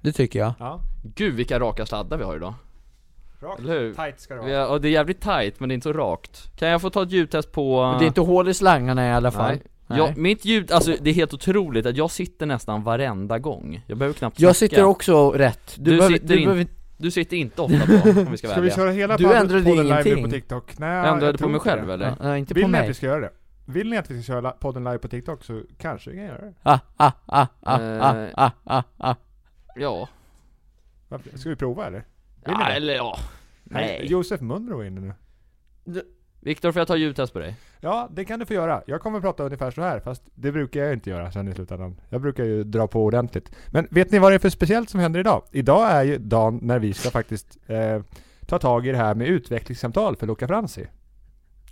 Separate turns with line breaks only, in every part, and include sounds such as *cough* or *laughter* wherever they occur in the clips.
Det tycker jag.
Ja,
Gud vilka raka sladdar vi har idag.
rakt,
Eller hur?
tight ska det
Vi
vara
har, och det är jävligt tight men det är inte så rakt. Kan jag få ta ett ljudtest på...
Det är inte hål i slangarna i alla fall.
Nej.
Nej.
Ja, mitt ljud, alltså det är helt otroligt att jag sitter nästan varenda gång. Jag behöver knappt
Jag
snacka.
sitter också rätt. Du,
Du
behöver,
sitter
du
in-
behöver,
Du sitter inte ofta på, om vi ska
Ska
vara
vi
ärliga.
köra hela
Du
podden-
ändrade
podden live nu
ingenting.
på TikTok? Nej,
Jag ändrade
jag
på
tror
mig
inte
själv
det.
eller?
ja, nej, inte
Vill
på
ni att
mig.
vi ska göra det? Vill ni att vi ska köra la- podden live på TikTok så kanske vi kan göra det
Ah, ah, ah, ah, ah,
Eh.
ah, ah, ah.
Ja.
Varför? Ska vi prova eller? Vill ni
ja
det?
eller ja. Nej.
Josef Mundro är inne nu
Viktor får jag ta ljudtest på dig?
Ja, det kan du få göra. Jag kommer prata ungefär så här, fast det brukar jag inte göra sen i slutändan. Jag brukar ju dra på ordentligt. Men vet ni vad det är för speciellt som händer idag? Idag är ju dagen när vi ska faktiskt eh, ta tag i det här med utvecklingssamtal för Luca Franzi.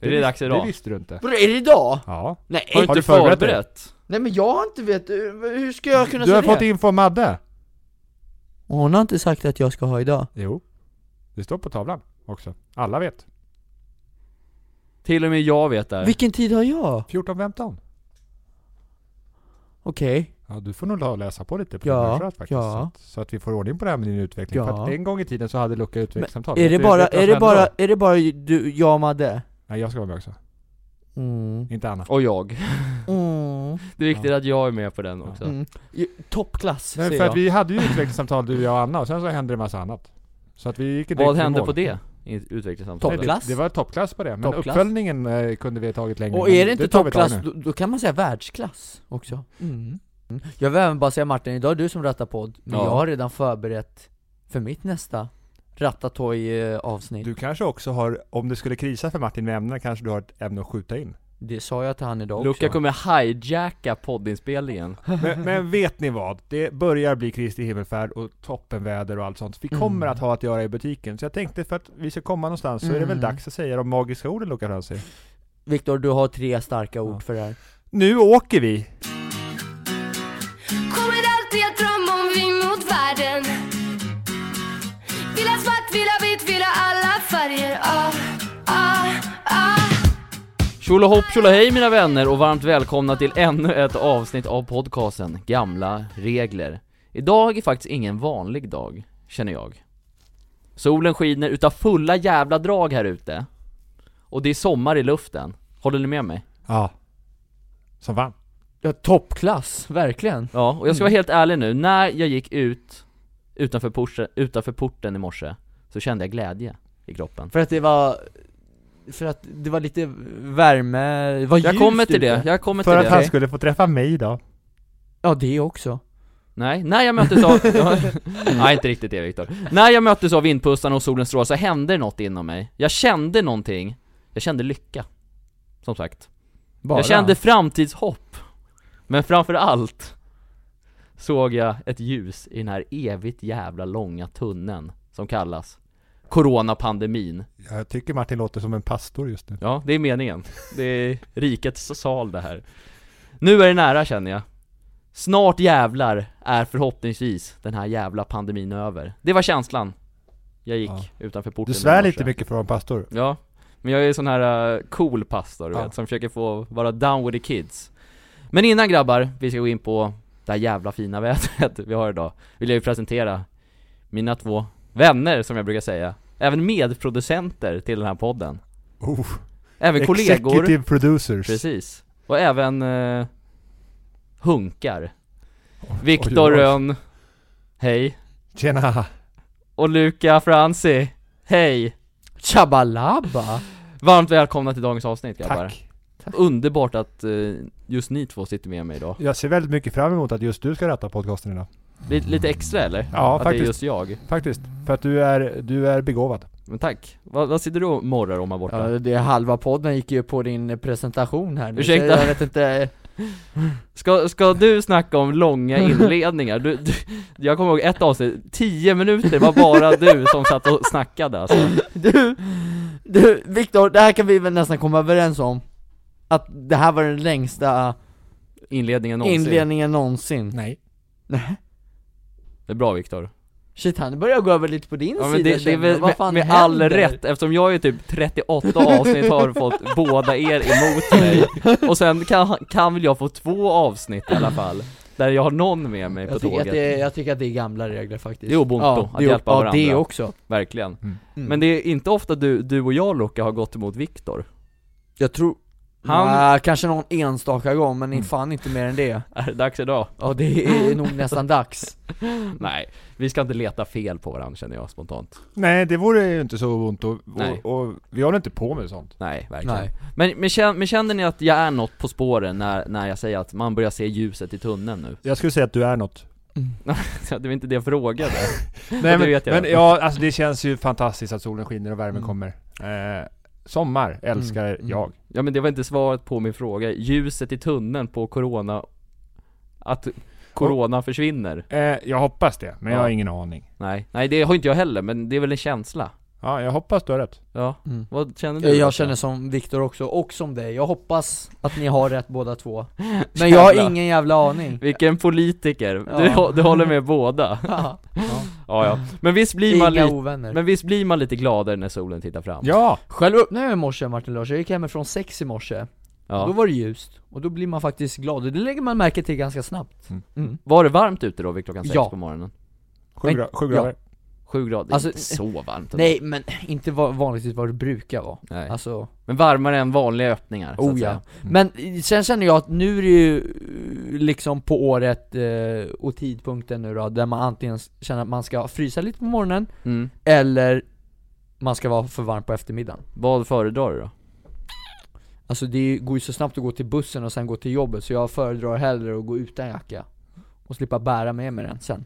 Är det dags
Det
idag?
visste du inte.
Vadå, är det idag?
Ja.
Nej,
Har du
Har
inte
du förberett dig?
förberett?
nej men jag har inte vet, hur ska jag kunna
Du
säga
har
det?
fått info om Madde.
Hon har inte sagt att jag ska ha idag.
Jo. Det står på tavlan också. Alla vet.
Till och med jag vet det här.
Vilken tid har jag?
14.15.
Okej.
Ja, du får nog ta och läsa på lite på
Ja,
din faktiskt.
ja.
Så, att, så att vi får ordning på det här med din utveckling.
Ja.
För att en gång i tiden så hade Luca utvecklingssamtal.
Är
Vet
det
du-
bara,
vet du vad
är
som
det
hände
bara,
då?
är det bara du, jag och Madde?
Nej, jag ska vara med också.
Mm.
Inte Anna.
Och jag.
Mm.
Det är viktigt att jag är med på den också.
Mm. I- Toppklass,
Nej,
säger
för att
jag.
vi hade ju utvecklingssamtal du, jag och Anna och sen så hände det massa annat. Så att vi gick inte
Vad
riktigt i
hände
mål.
på det? i Utvecklingssamtalet?
Nej,
Toppklass.
Det, det var toppklass på det, men
Toppklass.
uppföljningen eh, kunde vi ha tagit längre.
Och
men
är det inte
tar vi tag
toppklass,
nu.
då, då kan man säga världsklass också. Mm. Jag vill även bara säga Martin, idag är du som rattar podd, men
Ja.
jag har redan förberett för mitt nästa Ratatouille eh, avsnitt.
Du kanske också har, om det skulle krisa för Martin med ämnen, kanske du har ett ämne att skjuta in.
Det sa jag till han idag
Luca
också.
kommer hijacka poddinspelningen.
Men, men vet ni vad? Det börjar bli Kristi himmelfärd och toppenväder och allt sånt. Vi kommer
Mm.
att ha att göra i butiken. Så jag tänkte för att vi ska komma någonstans så är det väl
Mm.
dags att säga de magiska orden Luca Franzi.
Viktor, du har tre starka ord
Ja.
för det här.
Nu åker vi!
Kommer alltid att drömma om vi mot världen Vill ha svart, vill ha vitt, vill ha alla färger ah, ah, ah.
Tjolahopp tjolahej mina vänner och varmt välkomna till ännu ett avsnitt av podcasten Gamla Regler. Idag är faktiskt ingen vanlig dag, känner jag. Solen skiner utav fulla jävla drag här ute. Och det är sommar i luften. Håller ni med mig?
Ja. Som vann.
Ja, toppklass, verkligen.
Ja, och jag ska vara helt ärlig nu, när jag gick ut utanför, Porsche, utanför porten i morse så kände jag glädje i kroppen.
För att det var, för att det var lite värme, det var
Jag
ljust
kommer till
ute.
det, jag kommer till
För att
det.
han skulle få träffa mig idag.
Ja, det också.
Nej, när jag möttes av... *laughs* Ja, Nej, inte riktigt det Viktor. När jag möttes av vindpustarna och solens strålar så hände det något inom mig. Jag kände någonting. Jag kände lycka. Som sagt.
Bara.
Jag kände framtidshopp. Men framför allt såg jag ett ljus i den här evigt jävla långa tunneln som kallas Coronapandemin.
Jag tycker Martin låter som en pastor just nu.
Ja, det är meningen. Det är rikets sal det här. Nu är det nära känner jag. Snart jävlar är förhoppningsvis den här jävla pandemin över. Det var känslan. Jag gick
Ja.
utanför porten
Du
i
svär
morse.
lite mycket för att vara en pastor.
Ja, men jag är sån här eh, cool pastor du
Ja.
vet, som försöker få vara down with the kids. Men innan grabbar, vi ska gå in på det här jävla fina *laughs* vädret vi har idag, vill jag ju presentera mina två vänner som jag brukar säga. Även medproducenter till den här podden.
Oh,
Även kollegor.
Executive producers.
Precis. Och även eh, hunkar. Viktor
oj, oj.
Rönn, hej.
Tjena!
Och Luca Franzi, hej.
Chabalabba!
Varmt välkomna till dagens avsnitt grabbar.
Tack!
Underbart att eh, just ni två sitter med mig idag.
Jag ser väldigt mycket fram emot att just du ska rätta podcasten idag.
Mm.
Lite, lite extra eller?
Ja,
att det är
faktiskt.
just jag.
Faktiskt. För att du är, du är begåvad.
Men tack. Vad, vad sitter du och morrar om här borta?
Ja, det är halva podden gick ju på din presentation här nu, så
Ursäkta?
Jag vet inte,
Ska, ska du snacka om
*laughs*
långa inledningar? Du, du, jag kommer ihåg ett avsnitt, 10 minuter var bara du som satt och snackade alltså.
du, du Viktor, det här kan vi väl nästan komma överens om Att det här var den längsta
Inledningen någonsin.
inledningen någonsin
Nej.
Nej.
Det är bra Viktor.
Shit, han börjar gå över lite på din
Ja, men
sida
det, det är
känner
väl
jag.
med,
Vad fan
med all
händer?
rätt, eftersom jag är typ 38 avsnitt har fått
*laughs*
båda er emot mig Och sen kan, kan väl jag få två avsnitt i alla fall där jag har någon med mig på
Jag tycker, att
tåget
det, är- jag tycker att det är gamla regler faktiskt
Det är ubuntu,
ja,
att
det är-
hjälpa
Ja,
varandra.
det också
Verkligen
Mm.
Men det är inte ofta du, du och jag Loke har gått emot Viktor
Jag tror,
Han-
han... kanske någon enstaka gång men
Mm.
fan inte mer än det
Är det
*laughs*
dags idag?
Ja det är nog nästan
*laughs*
dags
Nej, vi ska inte leta fel på varandra känner jag spontant
Nej, det vore ju inte så ont och,
Nej.
och, och vi håller inte på med sånt.
Nej, verkligen
Nej
Men, men, känner, men känner ni att jag är något på spåren när, när jag säger att man börjar se ljuset i tunneln
*laughs*
nu?
Jag skulle säga att du är *laughs* något.
det var inte det jag frågade
Nej, men,
vet jag.
men ja, alltså det känns ju fantastiskt att solen skiner och värmen
Mm.
kommer. Eh, sommar älskar
Mm, mm.
jag.
*laughs* Ja men det var inte svaret på min fråga, ljuset i tunneln på corona Att corona försvinner?
Eh, jag hoppas det, men jag
Ja.
har ingen aning.
Nej, nej det har inte jag heller men det är väl en känsla
Ja, jag hoppas du har rätt.
Ja,
Mm.
vad känner du?
Jag,
Lotta?
jag känner som Viktor också, och som dig, jag hoppas att ni har rätt båda två Men jag har
Jävlar.
ingen jävla aning
Vilken politiker, du,
Ja.
hå- du håller med båda
*laughs* Ja,
ja, ja. Men, visst blir man
Inga
lite,
ovänner
men visst blir man lite gladare när solen tittar fram?
Ja!
Själv öppnade jag i morse Martin Larsson, jag gick hemifrån sex i morse
Ja.
Då var det ljust, och då blir man faktiskt glad, och det lägger man märke till ganska snabbt
Mm.
Mm.
Var det varmt ute då vid klockan sex
Ja.
på morgonen?
Sju,
Men-
gra- sju
ja.
grader.
Sju grader, det är
Alltså,
inte så varmt ändå.
Nej men *clears throat* inte vad, vanligtvis vad det brukar vara,
Nej. Mm.
alltså
Men varmare än vanliga öppningar så att
Oh ja.
säga.
Men sen känner jag att nu är det ju eh, liksom på året eh, och tidpunkten nu då, där man antingen s- känner att man ska frysa lite på morgonen,
Mm.
eller man ska vara för varm på eftermiddagen
Vad föredrar du då?
Alltså det går ju så snabbt att gå till bussen och sen gå till jobbet, så jag föredrar hellre att gå utan jacka och slippa bära med mig den sen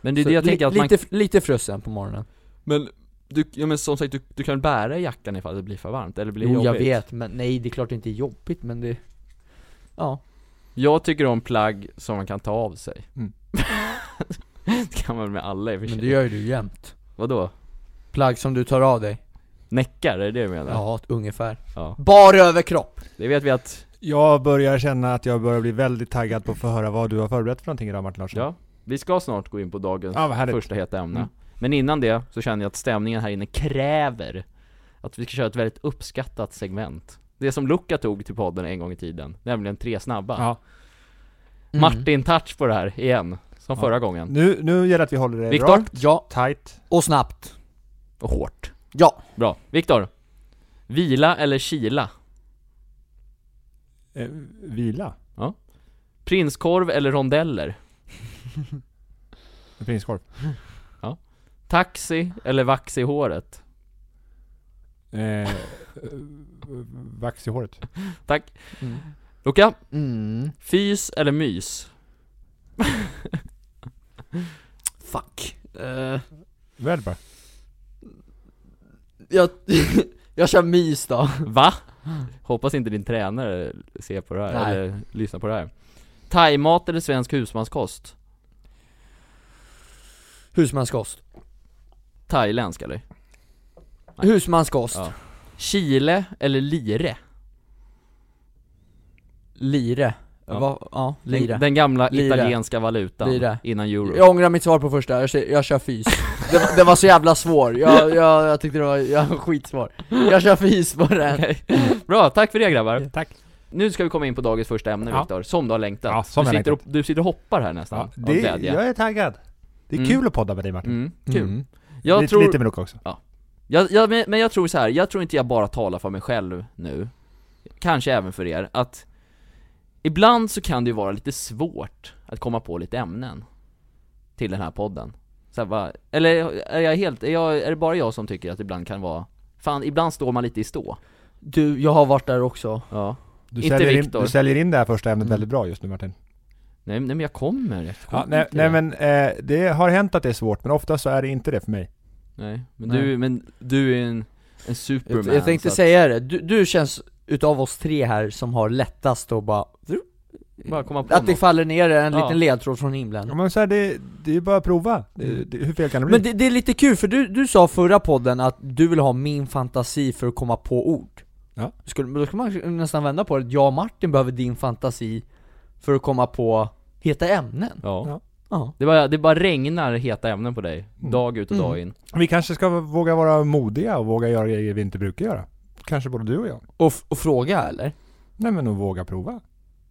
Men det är
Så
det jag
li-
tänker att man...
lite, lite frusen på morgonen
Men, du, ja, men som sagt, du, du kan bära jackan ifall det blir för varmt eller blir
Jo
jobbigt
jag vet, men nej det är klart det inte är jobbigt men det... Ja,
Jag tycker om plagg som man kan ta av sig
Mm.
*laughs* Det kan man med alla i och för
men
sig
det gör ju du jämt
Vadå?
Plagg som du tar av dig?
Näckar, är det det du menar?
Ja, ungefär
Ja.
Bar överkropp!
Det vet vi att,
Jag börjar känna att jag börjar bli väldigt taggad på att få höra vad du har förberett för någonting idag Martin Larsson.
ja, vi ska snart gå in på dagens
Ja, vad härligt.
första heta ämne
Mm.
Men innan det så känner jag att stämningen här inne kräver att vi ska köra ett väldigt uppskattat segment Det som Luca tog till podden en gång i tiden, nämligen tre snabba
Ja.
Mm.
Martin touch på det här igen, som
Ja.
förra gången
Nu, nu gäller det att vi håller det
Viktor?
rakt,
Ja,
tight.
och snabbt
Och hårt
Ja,
Bra, Viktor Vila eller kila?
Eh, vila.
Prinskorv eller rondeller?
Med prinskorv.
Taxi eller vax i håret?
Eh, eh, *laughs* vax i håret.
Tack
Mm.
Luca,
mm.
fys eller mys?
fuck Eh,
Väl bara.
Jag, *laughs* jag kör mys då
Va? Hoppas inte din tränare ser på det här,
Nej.
eller lyssnar på det här Thaimat eller svensk husmanskost?
Husmanskost
Thailändsk eller? Nej.
Husmanskost
Ja. Chile eller lire?
Lire
Ja.
ja. Va, ja, lire
Den, den gamla
Lire.
italienska valutan
Lire.
innan euro
Jag ångrar mitt svar på första, jag kör, jag kör fys det, var- det var så jävla svår, jag, jag, jag tyckte det var, jag, var skitsvår Jag kör fys på den
Okej. Bra, tack för det grabbar!
Tack.
Nu ska vi komma in på dagens första ämne
Ja.
Viktor, som du har längtat.
Ja, som
du,
jag
sitter och,
längtat.
du sitter och hoppar här nästan,
Ja,
av
det,
glädje.
jag är taggad. Det är
Mm.
kul att podda med dig Martin.
Mm, kul.
Mm.
Jag
lite,
tror,
lite med Luca också.
Jag, jag, men- men jag tror så här. jag tror inte jag bara talar för mig själv nu, kanske även för er, att ibland så kan det ju vara lite svårt att komma på lite ämnen till den här podden. Så här, va, eller är jag helt, är, jag, är det bara jag som tycker att ibland kan vara, fan ibland står man lite i stå.
Du, jag har varit där också
Ja.
Du
Inte
säljer, in,
Viktor.
du säljer in det här första ämnet
Mm.
väldigt bra just nu Martin.
Nej, nej men jag kommer, jag kommer
Ja, nej,
till
nej
det.
men eh, det har hänt att det är svårt, men ofta så är det inte det för mig.
nej, men
Nej.
du, men du är en, en superman
Jag, jag tänkte
så att-
säga det, du, du känns utav oss tre här som har lättast att bara
Bara komma på
Att det
något.
faller ner en
Ja.
liten ledtråd från himlen
Ja, men så här, det, det är bara att prova. Det, det, hur fel kan det bli?
Men det, det är lite kul, för du, du sa förra podden att du vill ha min fantasi för att komma på ord
Ja.
Skulle, men Då ska man nästan vända på det, jag och Martin behöver din fantasi för att komma på heta ämnen
Ja.
Ja.
Ja,
Det bara, det bara regnar heta ämnen på dig,
Mm.
dag ut och dag
Mm.
in.
Vi kanske ska våga vara modiga och våga göra grejer vi inte brukar göra. Kanske både du och jag.
och, f- och fråga eller?
Nej men att våga prova.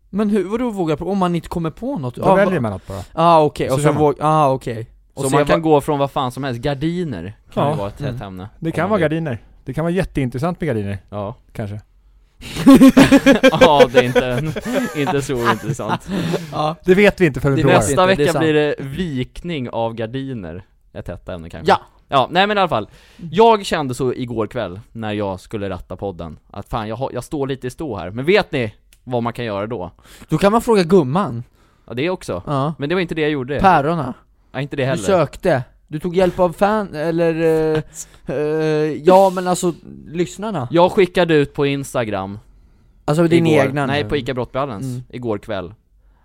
Men hur, vadå våga prova? Om man inte kommer på något?
Då
ah,
väljer
va-
man något bara.
Ah okej,
Så
och
kör
sen
man.
våga, ah okej Och
Så
se
man kan
vad-
gå från vad fan som helst, gardiner kan
Ja.
ju vara ett hett
Mm.
ämne
Det
Om
kan
man
vara
vill.
gardiner. Det kan vara jätteintressant med gardiner,
Ja,
kanske.
ja det är inte, *laughs* inte så intressant
Ja,
Det vet vi inte förrän vi
Det
provar.
vet vi. inte, det
Nästa
är
vecka
sant.
blir det vikning av gardiner Ett hett ämne kanske
ja.
Ja, nej men i alla fall. Jag kände så igår kväll, när jag skulle ratta podden, att fan jag, har, jag står lite i stå här, men vet ni vad man kan göra då?
Då kan man fråga gumman,
Ja det också.
ja
Men det var inte det jag gjorde.
Pärorna,
ja, inte det
du
heller.
sökte du tog hjälp av fan, eller... eh, eh, ja men alltså, lyssnarna
Jag skickade ut på Instagram
Alltså din
igår,
egna
Nej,
nu.
på ICA Brottballens,
Mm.
igår kväll.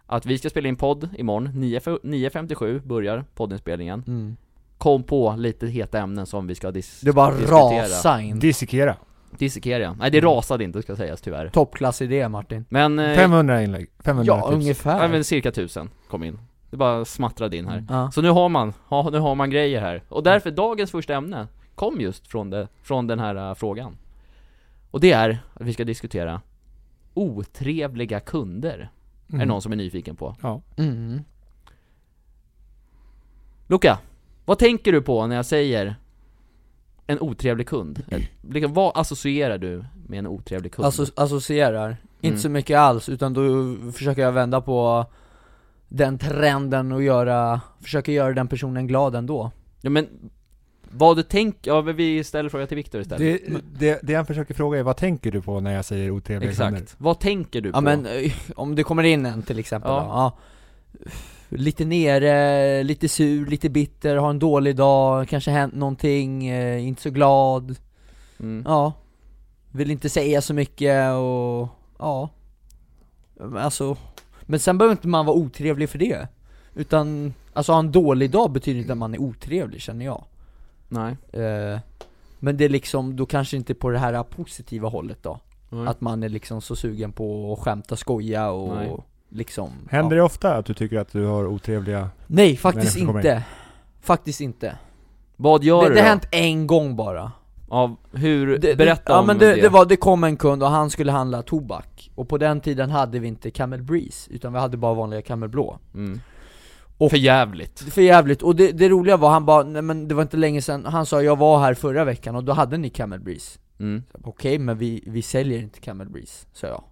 Att vi ska spela in podd imorgon, 9 f- 9.57 börjar poddinspelningen.
mm.
Kom på lite heta ämnen som vi ska dis-
Du bara
diskutera.
rasa in
Dissekera.
dissekera. Nej det
Mm.
rasade inte ska sägas tyvärr.
Toppklassidé Martin
Men... eh,
500 inlägg. 500
Ja,
tips.
ungefär
Ja men cirka tusen kom in. Det bara smattrade in här.
ja.
Så nu har man, ja, nu har man grejer här. Och därför dagens första ämne kom just från, det, från den här eh, frågan. Och det är att vi ska diskutera otrevliga kunder. Är det
Mm.
någon som är nyfiken på?
Mm.
Luca, vad tänker du på när jag säger en otrevlig kund?
*clears throat*
Liksom, vad associerar du med en otrevlig kund?
Asso- Alltså, associerar,
Mm.
inte så mycket alls utan då försöker jag vända på den trenden och göra, försöka göra den personen glad ändå
ja, men vad du tänker, ja men vi ställer frågan till Viktor istället.
Det, det, det han försöker fråga är vad tänker du på när jag säger otrevliga kunder?
Exakt. Vad tänker du på?
Ja men eh, om det kommer in en till exempel
Ja.
då, ja. Lite nere, lite sur, lite bitter, har en dålig dag, kanske hänt någonting, eh, inte så glad,
Mm.
ja Vill inte säga så mycket och, ja Men Alltså, men sen behöver inte man vara otrevlig för det Utan, alltså ha en dålig dag betyder inte att man är otrevlig känner jag
Nej.
Eh, Men det är liksom, då kanske inte på det här positiva hållet då
Nej.
Att man är liksom så sugen på att skämta, skoja och
Nej.
liksom
Händer
ja.
det ofta att du tycker att du har otrevliga...
Nej faktiskt
Människor kommer
inte Faktiskt inte
Vad gör
Det,
du
det
då?
har hänt en gång bara
Ja, hur,
det,
berätta
det,
om
ja, men det, det var, det kom en kund och han skulle handla tobak Och på den tiden hade vi inte Camel Breeze, utan vi hade bara vanliga Camel Blå
mm.
Och-
För jävligt.
Det är För jävligt, och det, det roliga var han bara, nej men det var inte länge sedan, han sa 'Jag var här förra veckan och då hade ni Camel Breeze'
Mm.
Okej, men vi, vi säljer inte Camel Breeze, sa jag.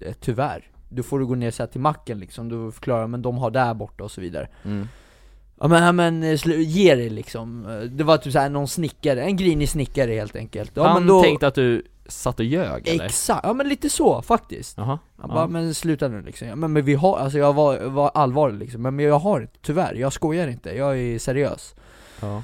Eh, Tyvärr. Då får du gå ner så här till macken liksom, du förklarar men de har där borta och så vidare.
Mm.
Ja men, ja, men eh, slu- ge dig liksom. Eh, Det var typ så här någon snickare, en grinig snickare helt enkelt. Ja,
Han
men då,
tänkte att du satt och ljög eller?
Exakt, ja men lite så faktiskt.
Jaha.
Han
Ja.
bara, men sluta nu liksom. Ja, men, men vi har, alltså jag var, var allvarlig liksom, men men jag har inte, tyvärr, jag skojar inte, jag är seriös.
Ja.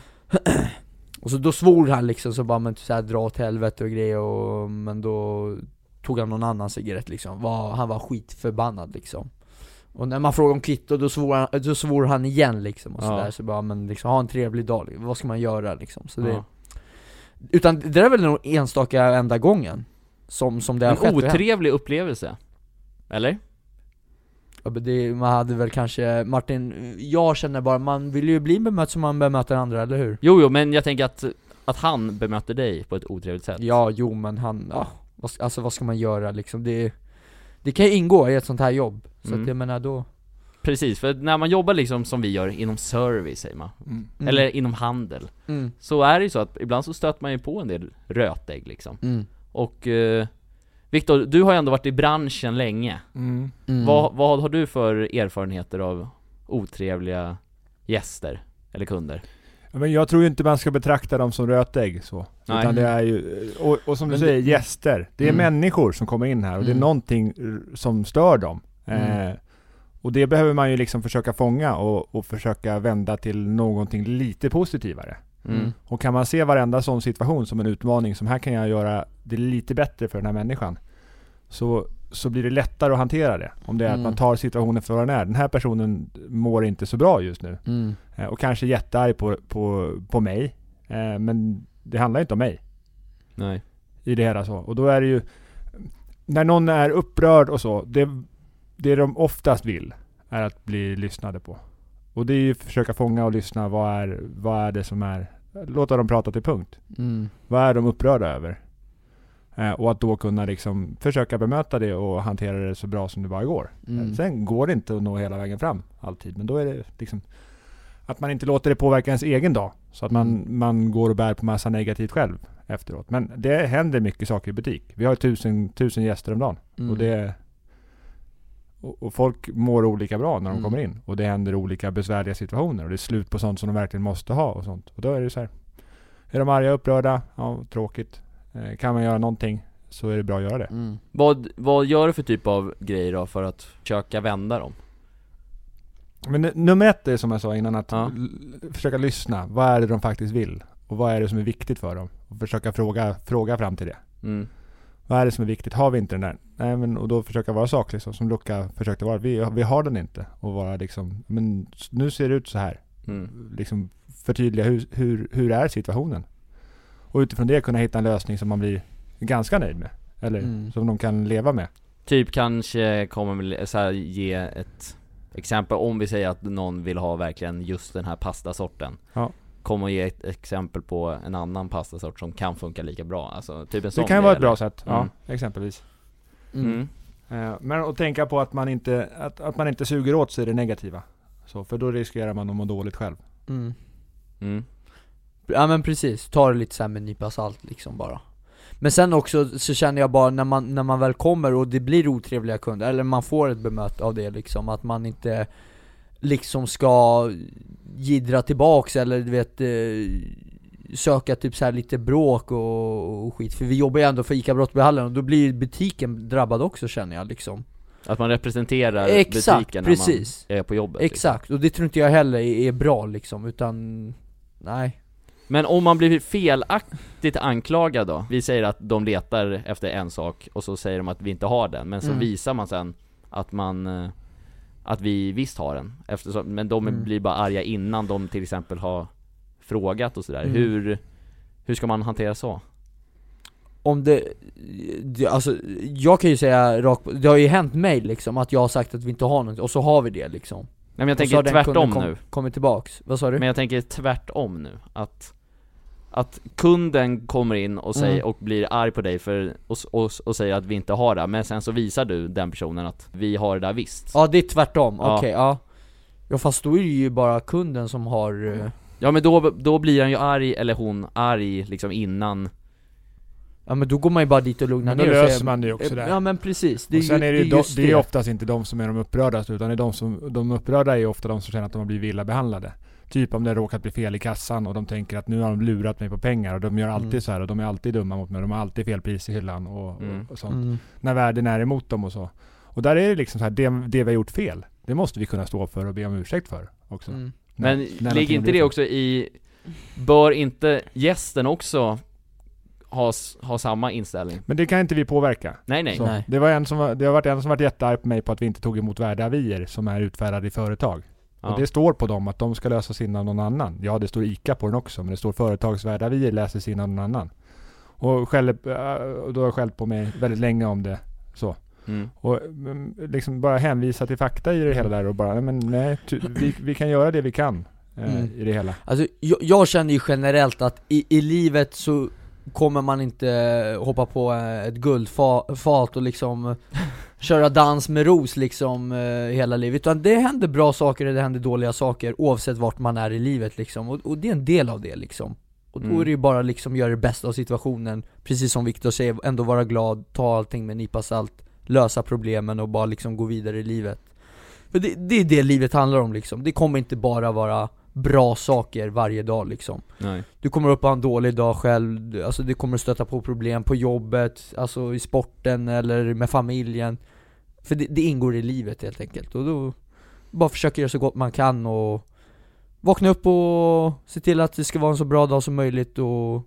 Och så då svor han liksom så bara men typ så här, dra åt helvete och grejer och men då tog han någon annan cigarett liksom, var, han var skitförbannad liksom Och när man frågade om kvitto då svor han, då svor han igen liksom och
Ja.
sådär så bara men liksom, ha en trevlig dag, liksom. vad ska man göra liksom? Så det,
Ja.
Utan det där är väl nog enstaka enda gången som, som det har skett
En
och hänt.
otrevlig upplevelse. Eller?
Ja, men det, man hade väl kanske, Martin, jag känner bara, man vill ju bli bemött som man bemöter andra, eller hur?
Jo, jo, men jag tänker att, att han bemöter dig på ett otrevligt sätt.
Ja, jo men han, ja, vad, s- alltså vad ska man göra liksom? Det, det kan ju ingå i ett sånt här jobb, så
Mm.
att jag menar då
Precis, för när man jobbar liksom som vi gör inom service säger man,
mm.
eller inom handel,
mm.
så är det ju så att ibland så stöter man ju på en del rötägg liksom.
Mm.
Och eh, Viktor, du har ju ändå varit i branschen länge.
Mm.
Mm.
Vad, vad har du för erfarenheter av otrevliga gäster? Eller kunder?
Ja, Men jag tror ju inte man ska betrakta dem som rötägg så.
Nej.
Utan det är ju, och, och som du
Men
säger, gäster. Det är
Mm.
människor som kommer in här och det är
Mm.
någonting r- som stör dem.
Mm.
Eh, och det behöver man ju liksom försöka fånga och, och försöka vända till någonting lite positivare.
Mm.
Och kan man se varenda sån situation som en utmaning, som här kan jag göra det lite bättre för den här människan. Så, så blir det lättare att hantera det. Om det är
Mm.
att man tar situationen för vad den är. Den här personen mår inte så bra just nu.
Mm.
Eh, Och kanske är jättearg på, på, på mig. Eh, Men det handlar inte om mig
Nej.
i det hela så. Och då är det ju... När någon är upprörd och så, det, det de oftast vill är att bli lyssnade på. Och det är ju att försöka fånga och lyssna. Vad är, vad är det som är... Låta dem prata till punkt.
Mm.
Vad är de upprörda över? Eh, och att då kunna liksom försöka bemöta det och hantera det så bra som det bara går.
Mm.
Sen går det inte att nå hela vägen fram alltid, men då är det liksom att man inte låter det påverka ens egen dag. Så att man, man går och bär på massa negativt själv efteråt. Men det händer mycket saker i butik. Vi har tusen, tusen gäster om dagen.
Mm.
Och, det, och, och folk mår olika bra när de
Mm.
kommer in. Och det händer olika besvärliga situationer. Och det är slut på sånt som de verkligen måste ha och sånt. Och då är det så här. Är de arga, upprörda? Ja, tråkigt. Eh, kan man göra någonting så är det bra att göra det.
Mm.
Vad, vad gör du för typ av grejer då för att försöka vända dem?
Men n- nummer ett är som jag sa innan att
Ja.
l- försöka lyssna. Vad är det de faktiskt vill? Och vad är det som är viktigt för dem? Och försöka fråga, fråga fram till det.
Mm.
Vad är det som är viktigt? Har vi inte den där? Nej, men, och då försöka vara saklig så, som Luca försökte vara. Vi, vi har den inte. Och vara liksom, men s- nu ser det ut så här.
Mm.
Liksom förtydliga hur, hur, hur är situationen? Och utifrån det kunna hitta en lösning som man blir ganska nöjd med. Eller
Mm.
som de kan leva med.
Typ kanske kommer med- så här, ge ett exempel, om vi säger att någon vill ha verkligen just den här pastasorten
Ja.
Kom och ge ett exempel på en annan pastasort som kan funka lika bra, alltså typ en sån
Det kan ju
grej,
vara ett
eller?
bra sätt.
Mm.
Ja, exempelvis.
Mm.
Eh, Men att tänka på att man inte, att, att man inte suger åt sig det negativa. Så, för då riskerar man att må dåligt själv.
Mm.
Mm.
Ja men precis, ta det lite såhär med en nypa salt liksom bara Men sen också så känner jag bara när man, när man väl kommer och det blir otrevliga kunder, eller man får ett bemöte av det liksom, att man inte liksom ska gidra tillbaks eller du vet eh, Söka typ så här lite bråk och, och skit, för vi jobbar ju ändå för ICA Brottbyhallen och då blir ju butiken drabbad också känner jag liksom
Att man representerar
Exakt,
butiken
precis.
när man är på jobbet liksom.
Exakt, och det tror inte jag heller är är bra liksom, utan nej
Men om man blir felaktigt anklagad då? Vi säger att de letar efter en sak och så säger de att vi inte har den, men så
Mm.
visar man sen att man eh, att vi visst har den, eftersom, men de
Mm.
blir bara arga innan de till exempel har frågat och sådär.
Mm.
Hur, hur ska man hantera så?
om det, det, alltså jag kan ju säga rakt på- det har ju hänt mig liksom att jag har sagt att vi inte har något och så har vi det liksom
Nej men jag
och så
tänker
har den kunden
tvärtom
kom,
nu,
kommit tillbaks, vad sa du?
men jag tänker tvärtom nu, att att kunden kommer in och, säger,
Mm.
och blir arg på dig för, och, s- och, s- och säger att vi inte har det, men sen så visar du den personen att vi har det där visst
Ja det är tvärtom,
Ja.
okej ja Ja fast då är det ju bara kunden som har, eh,
Ja men då, då blir han ju arg, eller hon, arg liksom innan
ja men då går man ju bara dit och lugnar
Men då
ner och
löser
säger-
man det ju också
Eh,
där.
Ja men precis, det är
Och sen
ju,
är det,
det
ju de,
just
det är ju oftast inte de som är de upprörda, utan det är de som, de upprörda är ju ofta de som känner att de har blivit illa behandlade. Typ om det har råkat bli fel i kassan och de tänker att nu har de lurat mig på pengar och de gör alltid
Mm.
så här och de är alltid dumma mot mig, de har alltid fel pris i hyllan och,
Mm.
och, och sånt.
mm.
När världen är emot dem och så. Och där är det liksom så här, det, det vi har gjort fel, det måste vi kunna stå för och be om ursäkt för också.
Mm.
När-
Men
när
ligger
någonting
inte
blir
det
så.
också i, bör inte gästen också ha, s- ha samma inställning?
Men det kan inte vi påverka.
Nej nej, Mm.
Så.
Nej.
Det, var en som var, det har varit en som varit jättearg på mig på att vi inte tog emot värdeavier som är utfärdade i företag.
Ja.
Och det står på dem att de ska lösas in av någon annan. Ja, det står ICA på den också, men det står företagsvärdeavier läses in av någon annan. Och skäller, eh, och då har jag skällt på mig väldigt länge om det. Så.
Mm.
Och mm, liksom bara hänvisa till fakta i det hela där och bara, nej, men nej, ty, vi, vi kan göra det vi kan eh,
Mm.
i det hela.
Alltså jag, jag känner ju generellt att i, i livet så kommer man inte hoppa på eh, ett guldfat och liksom eh, köra dans med ros liksom eh, hela livet. Utan det händer bra saker eller det händer dåliga saker oavsett vart man är i livet liksom. Och, och det är en del av det liksom. Och då
Mm.
är det ju bara liksom göra det bästa av situationen, precis som Viktor säger, ändå vara glad, ta allting med en nypa salt, lösa problemen och bara liksom gå vidare i livet. För det, det är det livet handlar om liksom, det kommer inte bara vara bra saker varje dag liksom.
Nej.
Du kommer upp och ha en dålig dag själv, du- alltså du kommer stöta på problem på jobbet, alltså i sporten eller med familjen. För det, det ingår i livet helt enkelt och då bara försöker göra så gott man kan och vakna upp och se till att det ska vara en så bra dag som möjligt och,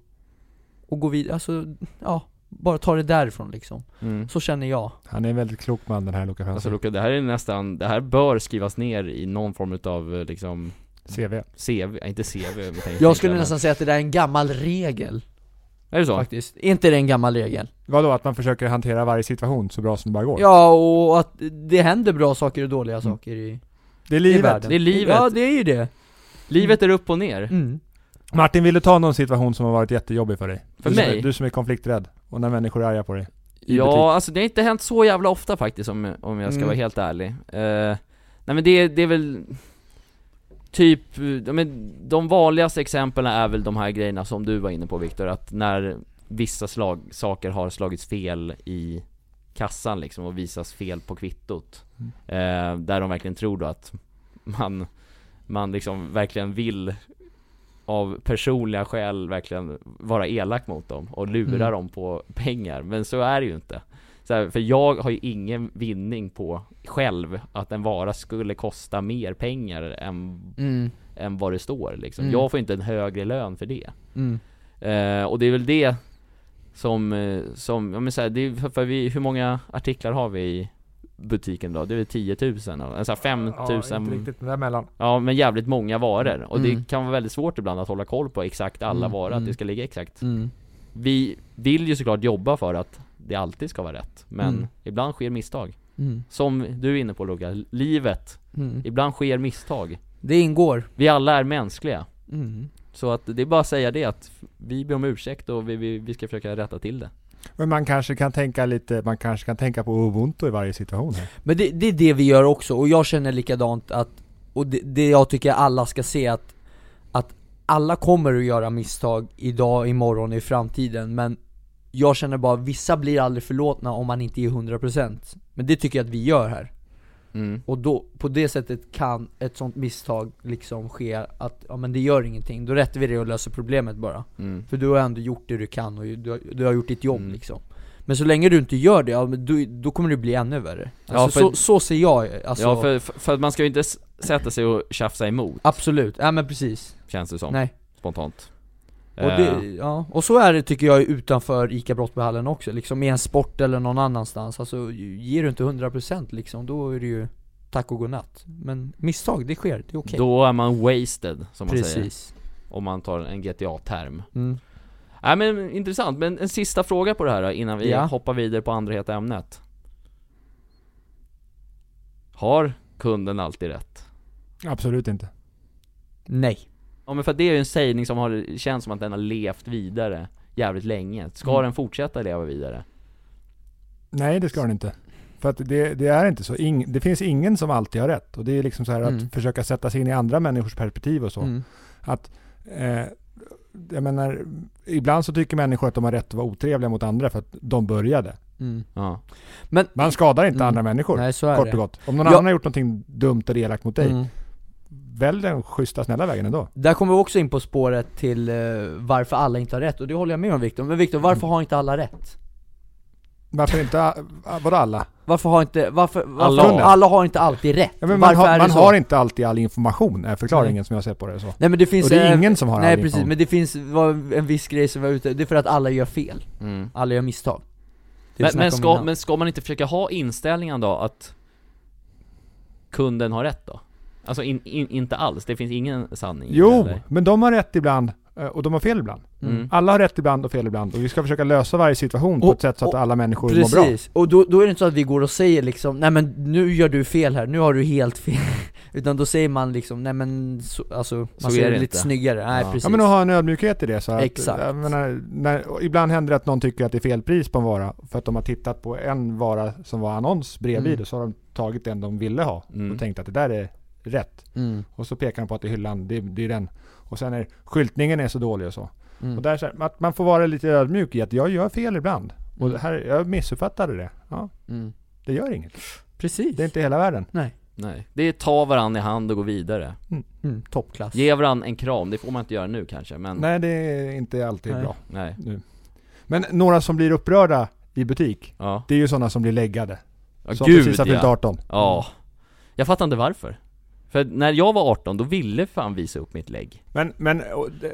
och gå vidare, alltså ja, bara ta det därifrån liksom.
Alltså,
Mm.
Så känner jag.
Han är en väldigt klok man den här Luca
Alltså
Fransson.
Luca, det här är nästan, det här bör skrivas ner i någon form utav eh, liksom
CV.
CV, äh, inte CV men tänk-
Jag skulle
men-
nästan säga att det där är en gammal regel
Är det så?
faktiskt. Är inte det en gammal regel?
Vadå, att man försöker hantera varje situation så bra som det bara går?
Ja, och att det händer bra saker och dåliga saker i,
Det är
i
livet.
världen.
Det är livet.
Ja, det är ju det.
Livet är upp och ner
Mm.
Martin, vill du ta någon situation som har varit jättejobbig för dig?
För
du, som är-
mig?
Du som är konflikträdd. Och när människor är arga på dig? I
Ja,
butik.
alltså det har inte hänt så jävla ofta faktiskt om, om jag ska
Mm.
vara helt ärlig Eh, Nej men det, det är väl Typ, eh, ja, men de vanligaste exemplen är väl de här grejerna som du var inne på Viktor, att när vissa slag, saker har slagits fel i kassan liksom och visas fel på kvittot
Mm.
Eh, Där de verkligen tror då att man, man liksom verkligen vill av personliga skäl verkligen vara elak mot dem och lura
Mm.
dem på pengar, men så är det ju inte så här, för jag har ju ingen vinning på själv att en vara skulle kosta mer pengar än,
Mm,
än vad det står liksom.
Mm.
Jag får inte en högre lön för det.
mm,
Eh, och det är väl det som, eh, som ja, men så här, det är, för- för vi, hur många artiklar har vi i butiken då? Det är väl 10 000, alltså 5 000
Ja, inte riktigt men däremellan.
Ja men jävligt många varor och
Mm.
det kan vara väldigt svårt ibland att hålla koll på exakt alla
Mm,
varor, att
mm.
det ska ligga exakt
mm.
Vi vill ju såklart jobba för att det alltid ska vara rätt, men
Mm.
ibland sker misstag
Mm,
Som du är inne på Luka, livet,
mm.
ibland sker misstag
Det ingår.
Vi alla är mänskliga
Mm.
Så att det är bara att säga det att vi ber om ursäkt och vi, vi, vi ska försöka rätta till det
Men man kanske kan tänka lite, man kanske kan tänka på ubuntu i varje situation här.
Men det, det är det vi gör också, och jag känner likadant att Och det, det jag tycker alla ska se att Att alla kommer att göra misstag idag, imorgon, i framtiden men Jag känner bara, vissa blir aldrig förlåtna om man inte är 100% Men det tycker jag att vi gör här
mm.
Och då, på det sättet kan ett sånt misstag liksom ske att, ja men det gör ingenting, då rättar vi det och löser problemet bara
Mm.
För du har ändå gjort det du kan och du har, du har gjort ditt jobb
Mm.
liksom Men så länge du inte gör det, ja, men du, då kommer det bli ännu värre
Ja,
alltså,
för-
så, så ser jag alltså,
Ja för, för att man ska ju inte s- sätta sig och tjafsa emot,
absolut, ja men precis
känns det som,
Nej.
spontant Eh,
och, det, ja. och så är det tycker jag utanför ICA Brottbyhallen också, liksom i en sport eller någon annanstans Alltså ger du inte 100% liksom, då är det ju tack och godnatt Men misstag, det sker, det är okej
Då är man wasted, som man säger
Precis
Om man tar en GTA-term
mm.
Nej men intressant, men en sista fråga på det här då, innan vi
Ja.
hoppar vidare på andra heta ämnet Har kunden alltid rätt?
Absolut inte.
Nej
Ja men för att det är ju en sägning som har, känns som att den har levt vidare jävligt länge Ska
Mm.
den fortsätta leva vidare?
Nej, det ska den inte. För att det, det är inte så. Ing, det finns ingen som alltid har rätt. Och det är liksom så här att
Mm.
försöka sätta sig in i andra människors perspektiv och så.
Mm.
Att, eh, jag menar, ibland så tycker människor att de har rätt att vara otrevliga mot andra för att de började.
Mm.
Ja
Man skadar inte
Mm.
andra människor.
Nej så är
Kort
det
och gott. Om någon
Ja.
annan har gjort någonting dumt eller elakt mot dig,
Mm.
välj den schyssta snälla vägen ändå.
Där kommer vi också in på spåret till eh, varför alla inte har rätt, och det håller jag med om Viktor. Men Viktor, varför
Mm.
har inte alla rätt?
Varför inte, vadå alla?
Varför har inte, varför, varför
Alla
alla,
har.
har inte alltid rätt?
Ja, men man
varför
har,
är det
man
så?
har inte alltid all information, är förklaringen som jag ser på det. Så.
Nej men det finns
Och det är
eh,
ingen som har
Nej
all
precis,
information.
men det finns var en viss grej som var ute, det är för att alla gör fel,
mm.
alla gör misstag Det vi
men, men,
snackade om
ska,
innan.
men ska man inte försöka ha inställningen då att kunden har rätt då? Alltså in, in, inte alls, det finns ingen sanning i det,
Jo,
eller?
men de har rätt ibland eh, och de har fel ibland.
Mm.
Alla har rätt ibland och fel ibland och vi ska försöka lösa varje situation på
Och-
ett sätt så att
och-
alla människor mår bra.
Precis, och då, då är det inte så att vi går och säger liksom Nej men nu gör du fel här, nu har du helt fel *laughs* Utan då säger man liksom, nej men så, alltså, man
Så
säger
är det
lite
inte.
sjuttio snyggare, nej
Ja.
precis
Ja men att ha en ödmjukhet i det så att,
Exakt.
jag menar, när, och ibland händer det att någon tycker att det är fel pris på en vara för att de har tittat på en vara som var annons bredvid
Mm.
och så har de tagit den de ville ha
Mm.
och tänkt att det där är rätt.
mm.
Och så pekar de på att det är hyllan, det, det är den. Och sen är skyltningen är så dålig och så.
Mm.
Och där, så här, att man får vara lite ödmjuk i att jag gör fel ibland. Och
Mm.
det här, jag missuppfattade det. Ja,
Mm.
det gör inget.
Precis,
Det är inte hela världen.
Nej, det är ta varandra i hand och gå vidare
mm, toppklass
Ge varandra en kram, det får man inte göra nu kanske men Nej,
Nej, det är inte alltid
Nej.
bra.
Mm. Nej.
Men några som blir upprörda i butik,
ja,
det är ju sådana som blir läggade.
ja
som
gud
precis har fyllt
ja.
18.
ja Jag fattar inte varför För när jag var 18, då ville fan visa upp mitt lägg
Men, men och, d-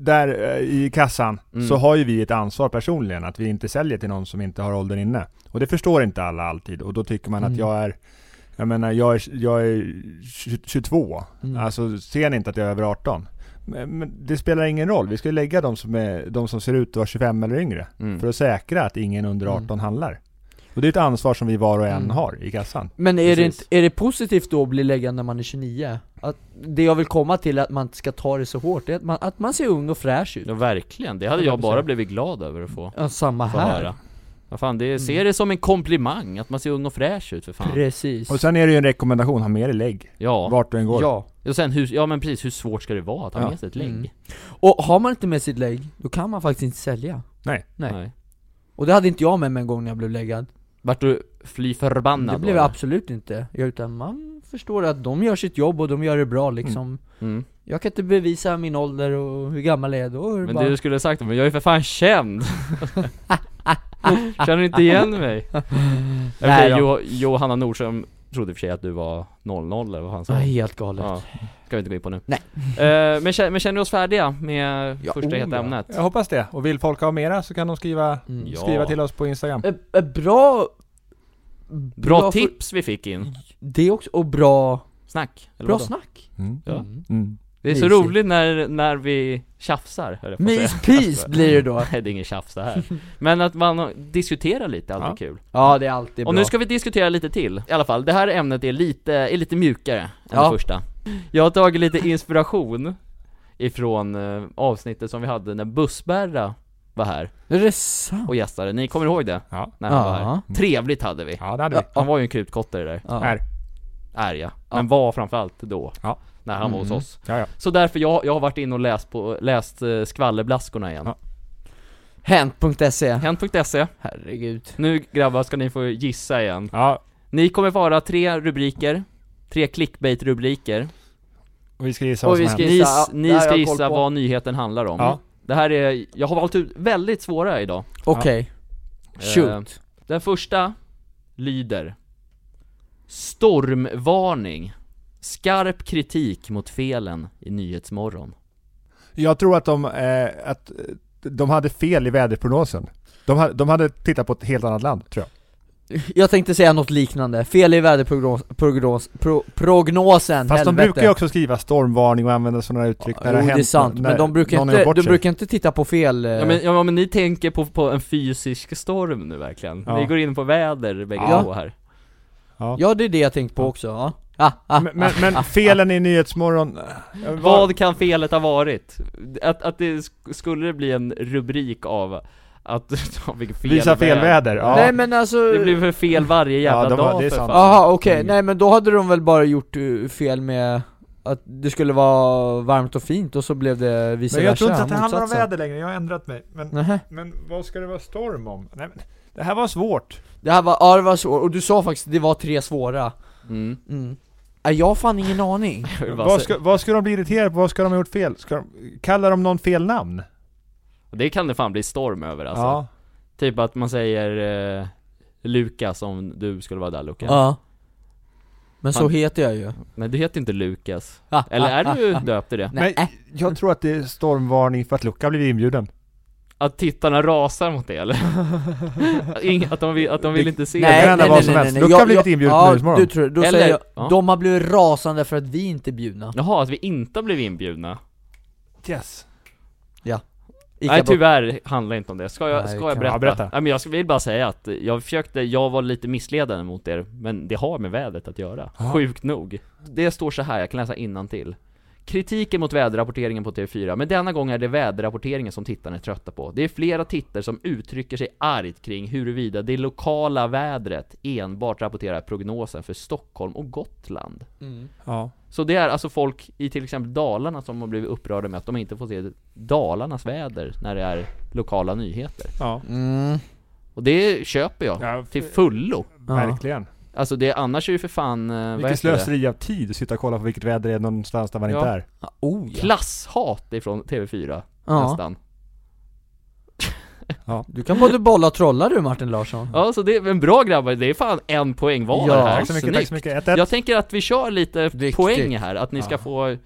där eh, i kassan
Mm.
så har ju vi ett ansvar personligen att vi inte säljer till någon som inte har åldern inne. Och det förstår inte alla alltid och då tycker man
Mm.
att jag är jag menar, jag är, jag är 22.
Mm.
Alltså, ser ni inte att jag är över 18? Men, men det spelar ingen roll. Vi ska ju lägga de som, är, de som ser ut att vara 25 eller yngre.
mm.
För att säkra att ingen under 18 handlar. Och det är ett ansvar som vi var och en
Mm.
har i kassan.
Men är det,
Precis.
inte, är det positivt då att bli läggad när man är 29? Att det jag vill komma till är att man inte ska ta det så hårt, det är att man, att man ser ung och fräsch ut
Ja verkligen, det hade jag bara blivit glad över att få,
Ja, samma
få
här
höra Vad fan, det, ser det som en komplimang att man ser ung och fräsch ut för fan
Precis
Och sen är det ju en rekommendation, ha med dig lägg.
Ja,
Vart du än går.
Ja,
och sen hur, ja men precis, hur svårt ska det vara att ha
Ja.
med sig ett lägg?
Mm. och har man inte med sitt lägg, då kan man faktiskt inte sälja Nej. Och det hade inte jag med mig en gång när jag blev läggad
Vart du fly förbannad
Det blev
då,
jag
eller?
absolut inte, utan man förstår att de gör sitt jobb och de gör det bra liksom
mm.
Jag kan inte bevisa min ålder och hur gammal jag är då är det
Men
bara...
du skulle ha sagt det, men jag är för fan känd! Känner du inte
*laughs*
igen mig? Nej,
då.
jo, Johanna Nordström trodde i och för sig att du var 00 eller vad han sa
Ja, helt galet
ja. Ska vi inte gå in på nu
Nej.
Eh, men, kä- men känner du oss färdiga med
Ja,
första
oh,
heta
ja.
ämnet?
Jag hoppas det. Och vill folk ha mera så kan de skriva,
Mm.
Ja.
skriva till oss på Instagram.
Ett- ett Bra...
Bra
för-
tips vi fick in!
Det också, och bra,
Snack! Eller
bra
vadå?
snack!
Mm.
Ja.
Mm.
Mm.
Det är så
Mysigt.
roligt när, när vi tjafsar, höll jag på att säga.
Mys pis blir det då!
*laughs* Nej det är ingen tjafs det här Men att man diskuterar lite, är alltid kul
Ja det är alltid bra
Och nu ska vi diskutera lite till, i alla fall det här ämnet är lite, är lite mjukare än det
Ja.
första Jag har tagit lite inspiration ifrån eh, avsnittet som vi hade när Bussberra var här
Är det sant?
och gästade, ni kommer ihåg det?
Ja.
När han var
Ja.
här. Trevligt hade vi!
ja, det hade vi.
Han var ju en krutkotte det där,
Ja.
Här.
är jag, men var framförallt då
Ja.
När han var hos
Mm.
oss
Ja, ja.
Så därför, jag, jag har varit inne och läst på, läst eh, skvallerblaskorna igen
Ja.
Hent.se
Hent.se
E. Herregud
E. Nu grabbar ska ni få gissa igen
ja.
Ni kommer vara tre rubriker, tre clickbait-rubriker
Och vi ska gissa vad
Och vi
som
ska
händer.
Ni,
gissa,
ni
det här har
ska
jag koll
gissa
på.
vad nyheten handlar om
Ja.
Det här är, jag har valt ut väldigt svåra idag
Okej,
Eh,
shoot
Den första lyder Stormvarning Skarp kritik mot felen i Nyhetsmorgon
Jag tror att de, eh, att eh, de hade fel i väderprognosen. De, ha, de hade tittat på ett helt annat land, tror jag.
Jag tänkte säga något liknande, fel i väderprognosen, prognos, pro, prognosen,
Fast de
helvete.
brukar ju också skriva stormvarning och använda sådana uttryck
Jo det är sant, men de brukar
någon har gjort
inte,
bort
de
sig.
brukar inte titta på fel eh,
Ja men, ja, men ni tänker på, på en fysisk storm nu verkligen,
Ja.
ni går in på väder bägge
Ja.
två här
Ja det är det jag tänkt på också, ja. Ah, ah,
Men, men, men felen i Nyhetsmorgon... eh, var-
Vad kan felet ha varit? Att, att det sk- skulle det bli en rubrik av att *laughs* de fick fel
Visa fel väder,
ah.
ja.
Nej men alltså,
Det blev för fel varje jävla
Ja, de har-
dag
det är
för
sant.
fan.
jaha okej,
Mm.
nej men då hade de väl bara gjort eh, fel med att det skulle vara varmt och fint och så blev det vice
Men jag tror
versa,
inte att det handlar om
motsatsen.
väder längre, jag har ändrat mig. Men,
Nähä.
men vad ska det vara storm om? Nej, men, det här var svårt.
Det här var, ja det var svårt, och du sa faktiskt att det var tre svåra
Mm.
mm. Ja, Jag har fan ingen aning
Jag vill bara
Vad
säga-
ska, vad ska de bli irriterade på? Vad ska de ha gjort fel? Ska de, kallar de någon fel namn?
Det kan det fan bli storm över alltså.
Ja.
Typ att man säger eh, Lukas om du skulle vara där Lukas.
Ja Men så
Fan.
heter jag ju
Men du heter inte Lukas.
Ah,
Eller
ah,
är
*laughs*
du
ah, ah.
döpt till det?
Nej.
Men jag tror att det är stormvarning för att Luca blev inbjuden.
Att tittarna rasar mot det eller? *laughs* Att ing- att, de vill, att de vill
Det-
inte se
kan
Nej,
det?
hända
nej,
vad
nej,
som
nej,
helst.
nej.
Lucka
Jag-
har blivit
jag-
inbjuden på
Ja,
Nyhetsmorgon.
du tror, då
Eller-
säger jag,
ja.
de har blivit rasande för att vi inte är bjudna
Jaha, att vi inte blev inbjudna?
Yes.
Ica
Nej
Bro-
tyvärr handlar det inte om det, ska jag,
Nej,
ska
kan-
jag berätta?
Ja, berätta.
Nej men jag vill bara säga att jag försökte, jag var lite missledande mot er, men det har med vädret att göra,
Ja.
sjukt nog Det står så här, jag kan läsa till. Kritiken mot väderrapporteringen på TV4, men denna gång är det väderrapporteringen som tittarna är trötta på. Det är flera tittare som uttrycker sig argt kring huruvida det lokala vädret enbart rapporterar prognosen för Stockholm och Gotland.
Mm.
Ja.
Så det är alltså folk i till exempel Dalarna som har blivit upprörda med att de inte får se Dalarnas väder när det är lokala nyheter.
Ja.
Mm.
Och det köper jag.
ja
Till fullo.
verkligen.
Alltså det, annars är det för fan, eh, vad
Vilket
heter det?
slöseri av tid att sitta och kolla på vilket väder det är någonstans där man
Ja.
inte är.
Ja, Oh ja.
Klasshat ifrån TV4,
ja.
nästan.
Du kan både bolla och trolla du Martin Larsson
Ja, så det är en bra grabbar, det är fan en poäng var
Ja.
det här.
Tack så mycket, tack
Snyggt.
så mycket. 1-1.
Jag tänker att vi kör lite
Viktigt.
poäng här, att ni ska
Ja.
få,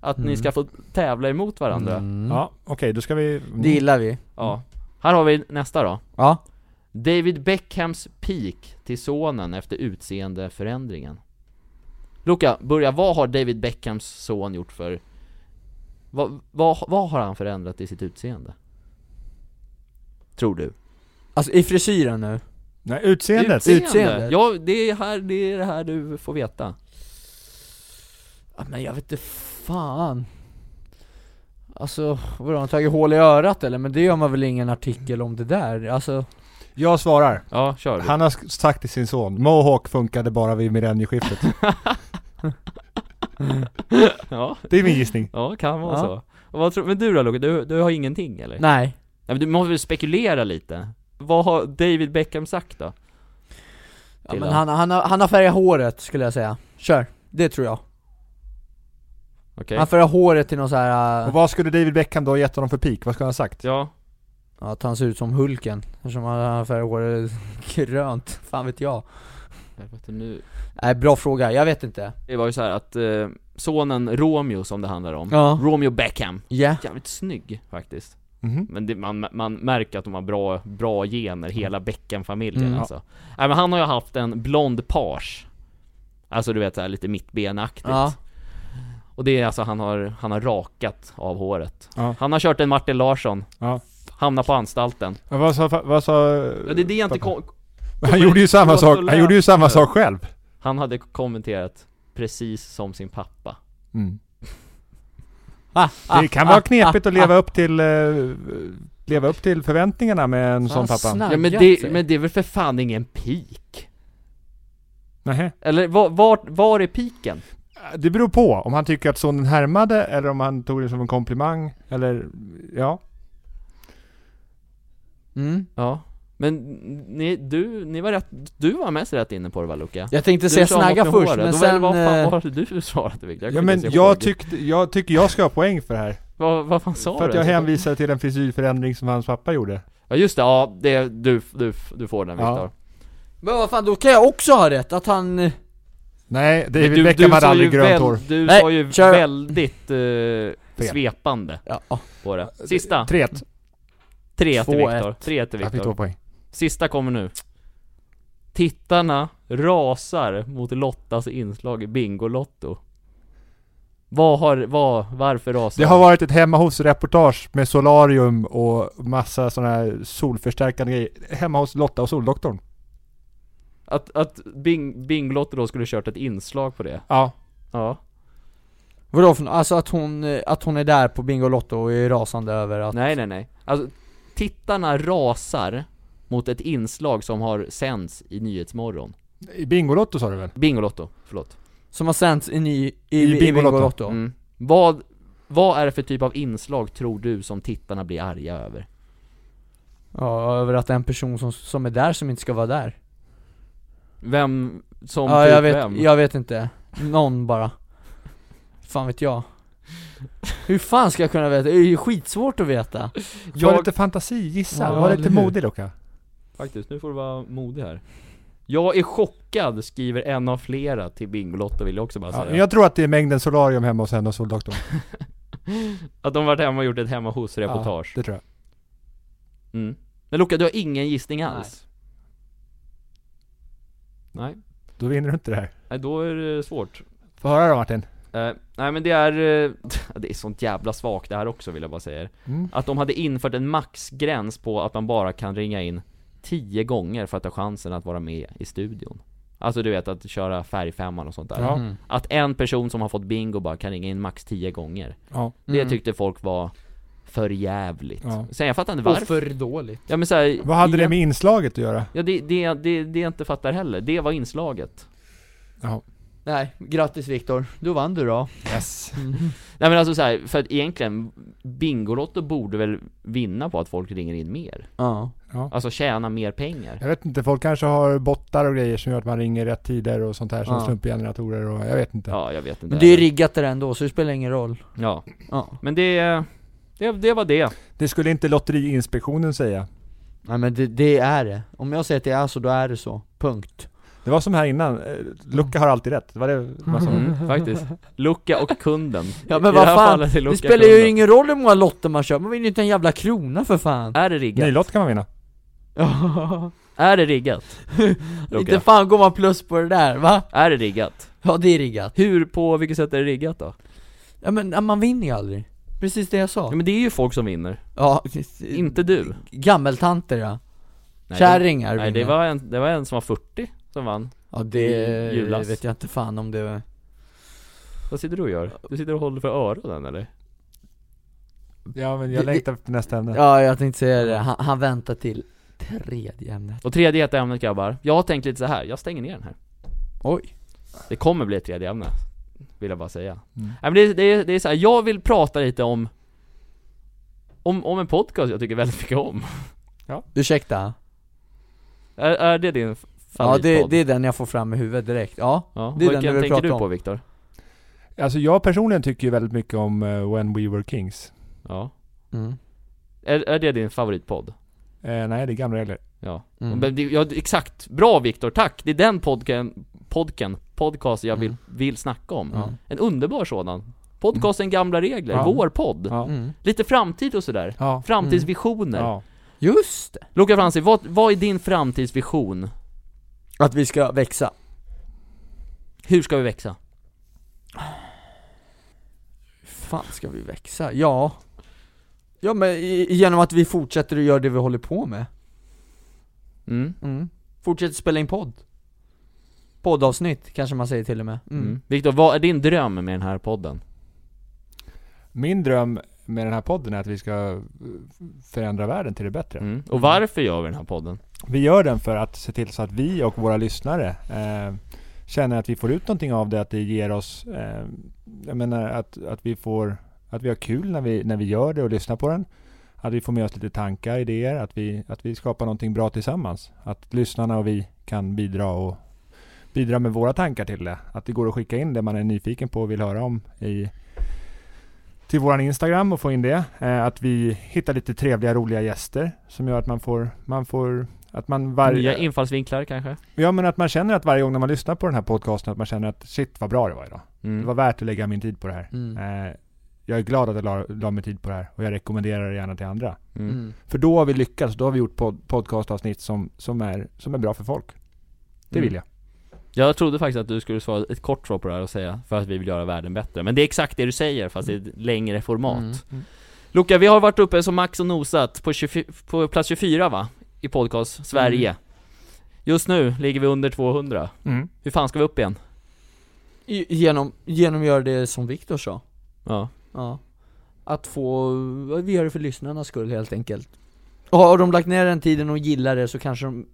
att ni
Mm.
ska få tävla emot varandra.
Mm.
Ja, okej, då ska vi... Mm.
Det gillar vi
Ja. Här har vi nästa då.
Ja
David Beckhams peak till sonen efter utseendeförändringen. Luca, börja. Vad har David Beckhams son gjort för... Vad, vad, vad har han förändrat i sitt utseende? Tror du?
Alltså i frisyren nu
Nej, utseendet.
Utse-
Utseende.
Utseende.
Ja, det är, här, det är det här du får veta.
Ja, men jag vet inte fan Alltså, vadå, har de tagit hål i örat eller? Men det gör man väl ingen artikel om det där? Alltså,
Jag svarar.
Ja, kör.
Han har sk- sagt till sin son, Mohawk funkade bara vid millennieskiftet.
*laughs* Ja,
Det är min gissning.
ja kan vara
Ja.
så. Och vad tror, men du då Loke, du, du har ingenting eller? Nej.
nej
men du måste väl spekulera lite? Vad har David Beckham sagt då?
ja,
Till
men
han.
han, han, har, han har färgat håret skulle jag säga Kör, det tror jag
Okej.
Han färgar håret till någon så här.
Och
äh,
vad skulle David Beckham då ha gett honom för pik? Vad skulle han ha sagt?
Ja,
ja, att han ser ut som Hulken Eftersom han han har färgat håret *laughs* grönt, fan vet jag
jag vet inte nu.
Nej bra fråga, jag vet inte
Det var ju så här att eh, sonen Romeo som det handlar om,
Ja,
Romeo Beckham,
ja
jävligt snygg faktiskt.
Mhm.
Men det, man, man märker att de har bra, bra gener, hela Beckham-familjen
Mm.
alltså. Nej men han har ju haft en blond page. Alltså du vet såhär lite mittbenaktigt.
Ja.
Och det är alltså han har, han har rakat av håret.
Ja.
Han har kört en Martin Larsson.
Ja.
Hamnar på anstalten.
Men Vad sa, vad sa...
Ja, det är det jag inte
pappa?
kom,
Han gjorde ju samma sak, han gjorde ju samma sak själv.
Han hade kommenterat precis som sin pappa.
Mm.
ah,
Det kan vara knepigt att leva upp till, eh, leva upp till förväntningarna med en sån
Fan,
pappa.
snabb.
Ja men det, men det är väl för fan ingen peak?
Nähä.
Eller var, var, var är piken?
Det beror på om han tycker att sonen härmade eller om han tog det som en komplimang eller ja.
mm.
Ja Men ni, du, ni var rätt, du var mest rätt inne på det va Luca?
Jag tänkte
Du
säga
sa något
snagga
med
först
håret.
men
Då var det-
sen,
Vad fan
eh,
var det du svarade Victor?
ja
kommer
men
inte ens
jag,
ihåg.
tyckte, jag tycker jag ska ha poäng för det här.
Vad, vad fan sa
för
du?
att jag
ens?
hänvisar till en frisyrförändring som hans pappa gjorde.
Ja just det, ja det, du, du, du får den
Ja.
Viktor
Men vad fan, då kan jag också ha rätt att han... eh,
Nej,
Men
David Beckham
sa
hade
ju
aldrig grönt
väl-
hår.
Du
Nej,
sa ju
kör.
väldigt eh,
Fel.
svepande
Ja,
på det Sista,
Tret.
tre till
två,
Viktor, tre till
Jag fick två
Viktor
poäng.
Sista kommer nu Tittarna rasar mot Lottas inslag i Bingolotto Vad har, vad, varför rasar
Det har varit ett hemma hos reportage med solarium och massa sådana här solförstärkande grejer. Hemma hos Lotta och Soldoktorn.
Att, att Bing, Bingolotto då skulle kört ett inslag på det?
Ja.
Ja
Vadå för nå- Alltså att hon, eh, att hon är där på Bingolotto och är rasande över att...
Nej nej nej. Alltså, tittarna rasar mot ett inslag som har sänds i Nyhetsmorgon.
I Bingolotto sa du väl?
Bingolotto, förlåt.
Som har sänts i, ny, i,
I
i
Bingolotto.
Bingolotto,
Mm. Vad, vad är det för typ av inslag tror du som tittarna blir arga över?
Ja, över att en person som, som är där som inte ska vara där
Vem som
Ja
typ
jag vet,
vem?
jag vet inte, någon bara Fan vet jag Hur fan ska jag kunna veta? Det är ju skitsvårt att veta
Var
Jag-
lite fantasi, gissa.
Ja,
Var
eller
lite
hur?
modig Luka.
Faktiskt, nu får du vara modig här. Jag är chockad, skriver en av flera till Bingolotto vill jag också bara
Ja,
säga.
jag tror att det är mängden solarium hemma hos henne och Soldoktorn.
*laughs* Att de varit hemma och gjort ett hemma hos-reportage.
Ja, det tror jag.
Mm. Men Luca, du har ingen gissning alls? Nej.
Då vinner du inte det här.
Nej, då är det svårt.
Få höra då Martin.
Eh, nej men det är, eh, *laughs* det är sånt jävla svagt det här också vill jag bara säga
Mm.
Att de hade infört en maxgräns på att man bara kan ringa in 10 gånger för att ha chansen att vara med i studion Alltså du vet att köra färgfemman och sånt där
Ja.
Mm.
Att en person som har fått bingo bara kan ringa in max 10 gånger
Ja.
Mhm. Mm.
Det tyckte folk var för jävligt
Ja.
Sen jag fattar inte
Och
varför
för dåligt
Ja men så här,
Vad hade det
igen-
med inslaget att göra?
Ja det, det, det, det jag inte fattar heller, det var inslaget
Nej, grattis Viktor, då vann du då
Yes.
Nej men alltså så här, för att egentligen Bingolotto borde väl vinna på att folk ringer in mer?
Ja
Alltså tjäna mer pengar?
Jag vet inte, folk kanske har bottar och grejer som gör att man ringer i rätt tider och sånt här som
Ja.
slumpgeneratorer och jag vet inte.
Ja, jag vet inte
Men det är riggat där ändå så det spelar ingen roll
Ja,
Ja
men det, det, det var det
Det skulle inte Lotteriinspektionen säga.
Nej men det, det är det, om jag säger att det är så, då är det så, punkt
Det var som här innan, eh, Lucka har alltid rätt. Det var det man sa.
*laughs*
mm, faktiskt Lucka och kunden
Ja men
I det
vad
här
fan,
fallet är Lucka
det spelar ju
kunden.
ingen roll hur många lotter man köper, man vinner ju inte en jävla krona för fan
Är det riggat?
Nylott kan man vinna.
Är det riggat?
*laughs* Inte
Lucka,
fan går man plus på det där va?
är det riggat?
Ja det är riggat
Hur, på vilket sätt är det riggat då?
Ja men ja, man vinner ju aldrig Precis det jag
Ja
sa
men det är ju folk som vinner,
Ja,
inte du
gammeltanter ja
Nej,
Kärringar
det, Nej det
vinner.
var, en, det var en som var 40 som vann
Ja det
i julas.
vet jag inte fan om det
Vad sitter du och gör? Du sitter och håller för öronen eller?
Ja men
Det-
jag längtar efter nästa ämne.
Ja jag tänkte säga det, han, han väntar till tredje ämnet
Och tredje heta ämnet grabbar, jag har tänkt lite så här. jag stänger ner den här
Oj
Det kommer bli ett tredje ämne, vill jag bara säga
Mm.
Nej men det, det, det är så här. jag vill prata lite om om, om en podcast jag tycker väldigt mycket om
Ursäkta?
Är, är det din f-
Ja
favoritpodd?
det, det är den jag får fram i huvudet direkt, ja
ja,
det är den
Vilken
du vill
tänker du
prata om.
på Viktor?
Alltså jag personligen tycker ju väldigt mycket om eh, When We Were Kings.
Ja
mm.
är, är det din favoritpodd?
Eh, nej, det är gamla regler.
Ja,
Mm.
Men det- ja exakt, bra Viktor, tack! Det är den podken, podken, podcast jag vill,
Mm.
vill snacka om
Ja.
En underbar sådan Podcasten Gamla Regler,
Ja.
vår podd
Ja.
Mm.
Lite framtid och sådär
Ja.
Framtidsvisioner
ja.
Just det!
Luca Franzi, vad, vad är din framtidsvision?
Att vi ska växa
Hur ska vi växa?
Hur fan ska vi växa? Ja Ja men i- genom att vi fortsätter att göra det vi håller på med
Mm.
mm. Fortsätter spela in podd Poddavsnitt kanske man säger till och med mm.
Mm. Viktor, vad är din dröm med den här podden?
Min dröm med den här podden är att vi ska eh, förändra världen till det bättre.
Mm. Och varför gör vi den här podden?
Vi gör den för att se till så att vi och våra lyssnare eh, känner att vi får ut någonting av det, att det ger oss, eh, jag menar att, att vi får, att vi har kul när vi, när vi gör det och lyssnar på den. Att vi får med oss lite tankar, idéer, att vi, att vi skapar någonting bra tillsammans. Att lyssnarna och vi kan bidra och bidra med våra tankar till det. Att det går att skicka in det man är nyfiken på och vill höra om i till våran Instagram och få in det. Eh, att vi hittar lite trevliga, roliga gäster som gör att man får, man får att man
Nya
varje,
infallsvinklar kanske?
Ja men att man känner att varje gång när man lyssnar på den här podcasten att man känner att shit vad bra det var idag. Det
Mm.
var värt att lägga min tid på det här.
Mm.
Eh, jag är glad att jag la, la min tid på det här och jag rekommenderar det gärna till andra.
Mm.
Mm.
För då har vi lyckats, då har vi gjort pod, podcastavsnitt som, som, är, som är bra för folk. Det
Mm.
vill jag.
Jag trodde faktiskt att du skulle svara ett kort svar på det här och säga för att vi vill göra världen bättre Men det är exakt det du säger fast i ett längre format
Mm.
Luca, vi har varit uppe som max och nosat på, 24, på plats 24 va? I podcast Sverige
Mm.
Just nu ligger vi under 200 Hur fan ska vi upp igen?
I- Genom, genom att göra det som Viktor sa
Ja
Ja Att få, vi gör det för lyssnarnas skull helt enkelt Och har de lagt ner den tiden och gillar det så kanske de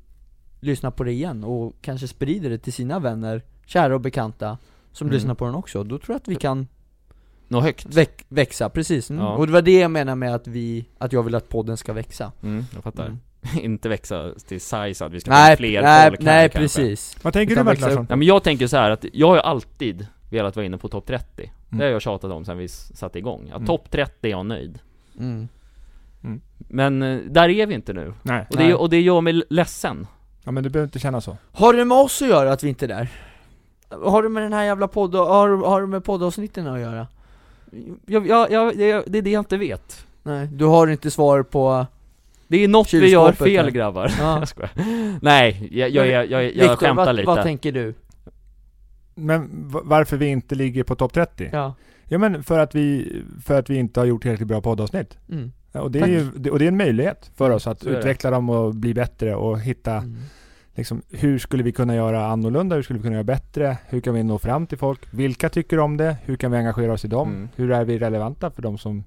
lyssnar på det igen och kanske sprider det till sina vänner, kära och bekanta Som
Mm.
lyssnar på den också, då tror jag att vi kan
Nå högt
väck, växa, precis mm.
Ja.
Och det var det jag menade med att vi, att jag vill att podden ska växa
Mm, *laughs* jag fattar.
Mm.
inte växa till size att vi ska
Nej,
få fler
nej,
folk här,
nej
kanske.
precis
Vad tänker
Utan
du Bert
växa
Larsson?
upp.
Nej men jag tänker så här att jag har ju alltid velat vara inne på topp 30. Det har
Mm.
jag tjatat om sen vi s- satte igång. Ja,
Mm.
topp 30 är jag nöjd.
mm.
Men eh, där är vi inte nu.
Nej.
Och det,
Nej.
och det gör mig ledsen.
Ja men du behöver inte känna så.
Har det med oss att göra att vi inte är där? Har det med den här jävla podd, har, har det med poddavsnitten att göra?
Jag, jag, jag, det, det är det jag inte vet.
Nej, du har inte svar på...
Det är något vi gör
Kylskåpet,
fel
nej.
grabbar.
Ja.
*laughs* Jag skojar. Nej, jag, jag, jag, jag, jag
Viktor,
skämtar
vad,
lite.
Vad tänker du?
Men v- varför vi inte ligger på topp 30? Ja,
Ja.
men för att, vi, för att vi inte har gjort tillräckligt bra poddavsnitt.
Mm.
Ja, Och det, är ju, det- och det är en möjlighet för oss att
Så är det.
utveckla dem och bli bättre och hitta
Mm.
liksom, hur skulle vi kunna göra annorlunda? Hur skulle vi kunna göra bättre? Hur kan vi nå fram till folk? Vilka tycker om det? Hur kan vi engagera oss i dem?
Mm.
Hur är vi relevanta för de som,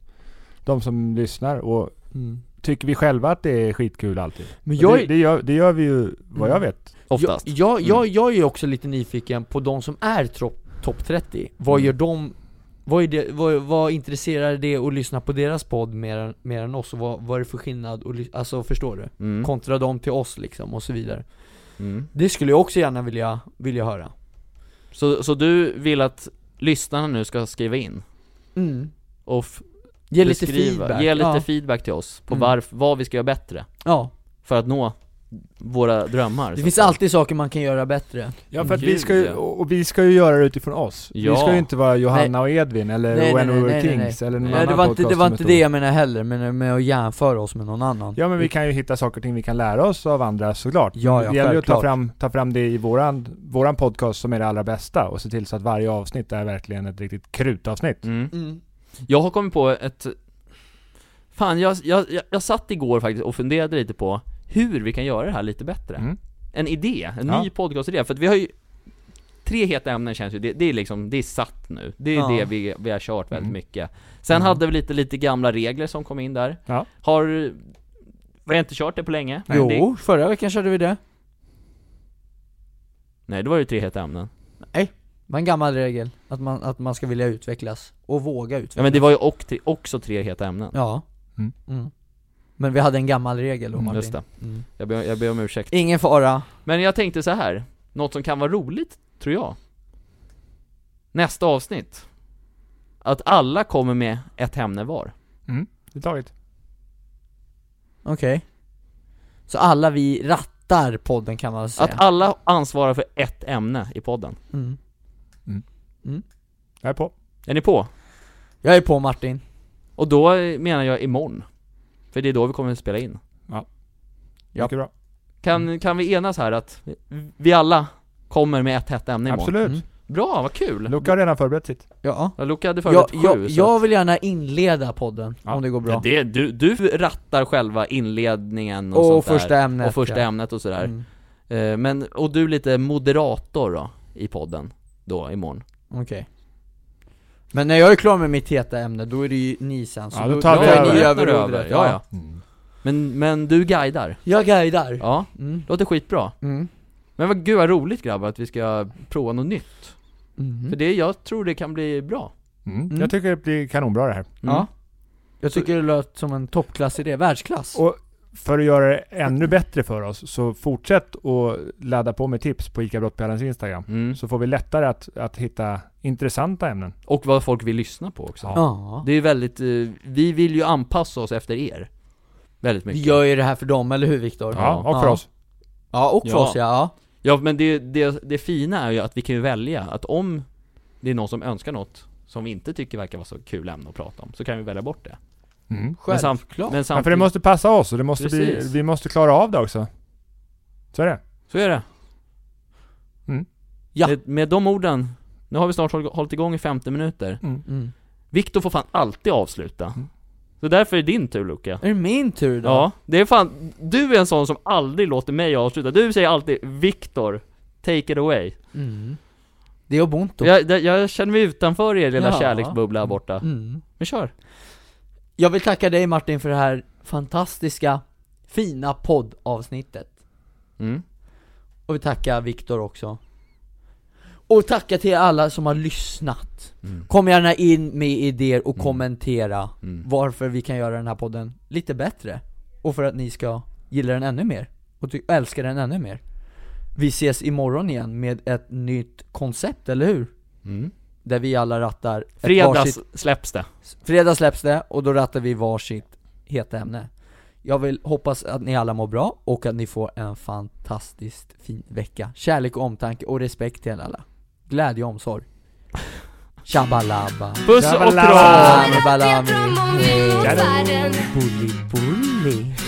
de som lyssnar? Och
Mm.
tycker vi själva att det är skitkul alltid?
Men
Och
jag,
det, det, gör, det gör vi ju, vad jag
Mm.
vet.
Oftast.
Jag, jag,
Mm.
jag, jag är också lite nyfiken på de som är topp top 30. Vad
Mm.
gör de? Vad, är det, vad, vad intresserar det att lyssna på deras podd mer, än- mer än oss? Och vad, vad är det för skillnad? att lys- alltså förstår du?
Mm.
Kontra dem till oss liksom och så vidare.
Mm.
Det skulle jag också gärna vilja, vilja höra.
Så, så du vill att lyssnarna nu ska skriva in?
Mm.
Och f-
Ge lite
beskriva,
feedback.
Ge lite
ja.
feedback till oss på
Mm.
varf, vad vi ska göra bättre
ja.
för att nå våra drömmar.
Det
så
finns
att säga.
alltid saker man kan göra bättre.
Ja,
för att vi ska ju- Gud, ja.
och vi ska ju göra det utifrån oss.
Ja.
Vi ska ju inte vara Johanna och Edvin eller
Nej, nej,
When
nej,
We Were
nej, nej, nej.
Kings eller någon
Ja,
annan
det var inte, det,
podcast
var
som är
inte
stor.
det jag menar heller, men med att jämföra oss med någon annan.
Ja men vi kan ju hitta saker och ting vi kan lära oss av andra såklart.
Ja, ja,
det gäller ju att ta
självklart.
fram, ta fram det i våran, våran podcast som är det allra bästa och se till så att varje avsnitt är verkligen ett riktigt krutavsnitt.
Mm.
Mm.
Jag har kommit på ett... Fan, jag, jag, jag, jag satt igår faktiskt och funderade lite på hur vi kan göra det här lite bättre.
Mm.
En idé, en
Ja.
ny podcastidé, för att vi har ju Tre heta ämnen känns ju, det, det är liksom, det är satt nu. Det är
Ja.
det vi, vi har kört väldigt
Mm.
mycket. Sen
Mm.
hade vi lite, lite gamla regler som kom in där.
Ja.
Har, vi har inte kört det på länge. men Det,
Jo, förra veckan körde vi det.
nej, det var ju tre heta ämnen.
Det var en gammal regel, att man, att man ska vilja utvecklas. Och våga utvecklas.
Ja men det var ju och, tre- också tre heta ämnen.
Ja.
Mm.
Mm. Men vi hade en gammal regel då
Mm,
Martin.
Just det.
Mm.
Jag ber, jag ber om ursäkt.
Ingen fara.
Men jag tänkte så här. något som kan vara roligt, tror jag Nästa avsnitt Att alla kommer med ett ämne var
Det är taget.
Okej. Så alla vi rattar podden kan man säga.
Att alla ansvarar för ett ämne i podden
mm.
Jag är på.
Är ni på?
Jag är på Martin.
Och då eh, menar jag imorgon För det är då vi kommer att spela in
Ja.
Mycket bra.
Mm.
Kan, kan vi enas här att vi alla kommer med ett hett ämne imorgon?
Absolut.
Mm.
Bra, vad kul!
Luca har redan förberett sitt.
Ja.
Ja, Luca hade
Jag,
förberett sju
jag,
så
jag vill gärna inleda podden,
Ja.
om det går bra.
att- det, du, du rattar själva inledningen och,
och
sånt där.
första ämnet.
Och första
ja.
ämnet och sådär
Mm.
Eh, Men, och du lite moderator då, i podden, då imorgon
Okej. Men när jag är klar med mitt heta ämni, då är det ju ni sen. Så
Ja, då tar vi
är
över.
ni
Ja,
över rodret.
Ja, ja. Men, men du guidar,
Jag guidar.
ja,
Mm.
låter skitbra
Mm.
Men vad gud vad roligt grabbar att vi ska prova något nytt
Mhm.
För det, jag tror det kan bli bra
Mm.
Mm.
Jag tycker det blir kanonbra det här.
Mm.
Ja. Jag tycker det låter som en toppklassidé, världsklass.
Och för att göra det ännu bättre för oss, så fortsätt att ladda på med tips på ICA Brottbjörnens Instagram.
mm.
Så får vi lättare att, att hitta intressanta ämnen.
Och vad folk vill lyssna på också
Ja.
ja.
Det är ju väldigt, eh, vi vill ju anpassa oss efter er Väldigt
Vi
mycket
gör ju det här för dem, eller hur Viktor?
Ja, och för
Ja.
oss.
Ja, och för
Ja.
oss ja. ja.
Ja men det, det, det fina är ju att vi kan ju välja att om det är någon som önskar något som vi inte tycker verkar vara så kul ämne att prata om, så kan vi välja bort det
Mm.
Men sam-
Självklart.
Men
Ja,
samtidigt,
för det måste passa oss och det måste bli,
Precis.
vi måste klara av det också. Så är det.
så är det
Mm.
Ja.
med, med de orden, nu har vi snart håll- hållit igång i 50 minuter
Mm.
Viktor får fan alltid avsluta
Mm.
Så därför är det din tur Luca
Är det min tur då?
Ja, det är fan, du är en sån som aldrig låter mig avsluta, du säger alltid 'Viktor, take it away'
Mm. Det är ubuntu.
jag, det- jag känner mig utanför er lilla
Ja.
kärleksbubbla här borta,
Mm.
men kör!
Jag vill tacka dig Martin för det här fantastiska, fina poddavsnittet.
Mm.
Och vi tackar Viktor också. Och tacka till alla som har lyssnat.
Mm.
Kom gärna in med idéer och
Mm.
kommentera
Mm.
varför vi kan göra den här podden lite bättre. Och för att ni ska gilla den ännu mer. Och ty- älska den ännu mer. Vi ses imorgon igen med ett nytt koncept, eller hur?
Mm.
Där vi alla rattar ett
Fredags
varsitt-
släpps det
fredag släpps det och då rattar vi varsitt heta ämne. Jag vill hoppas att ni alla mår bra och att ni får en fantastiskt fin vecka. Kärlek och omtanke och respekt till alla. Glädje och
*laughs*
omsorg. Shabalaba.
Puss och
Jävlar.
kram!
Balami, balami.
Bully, bully.
Ah, Ah,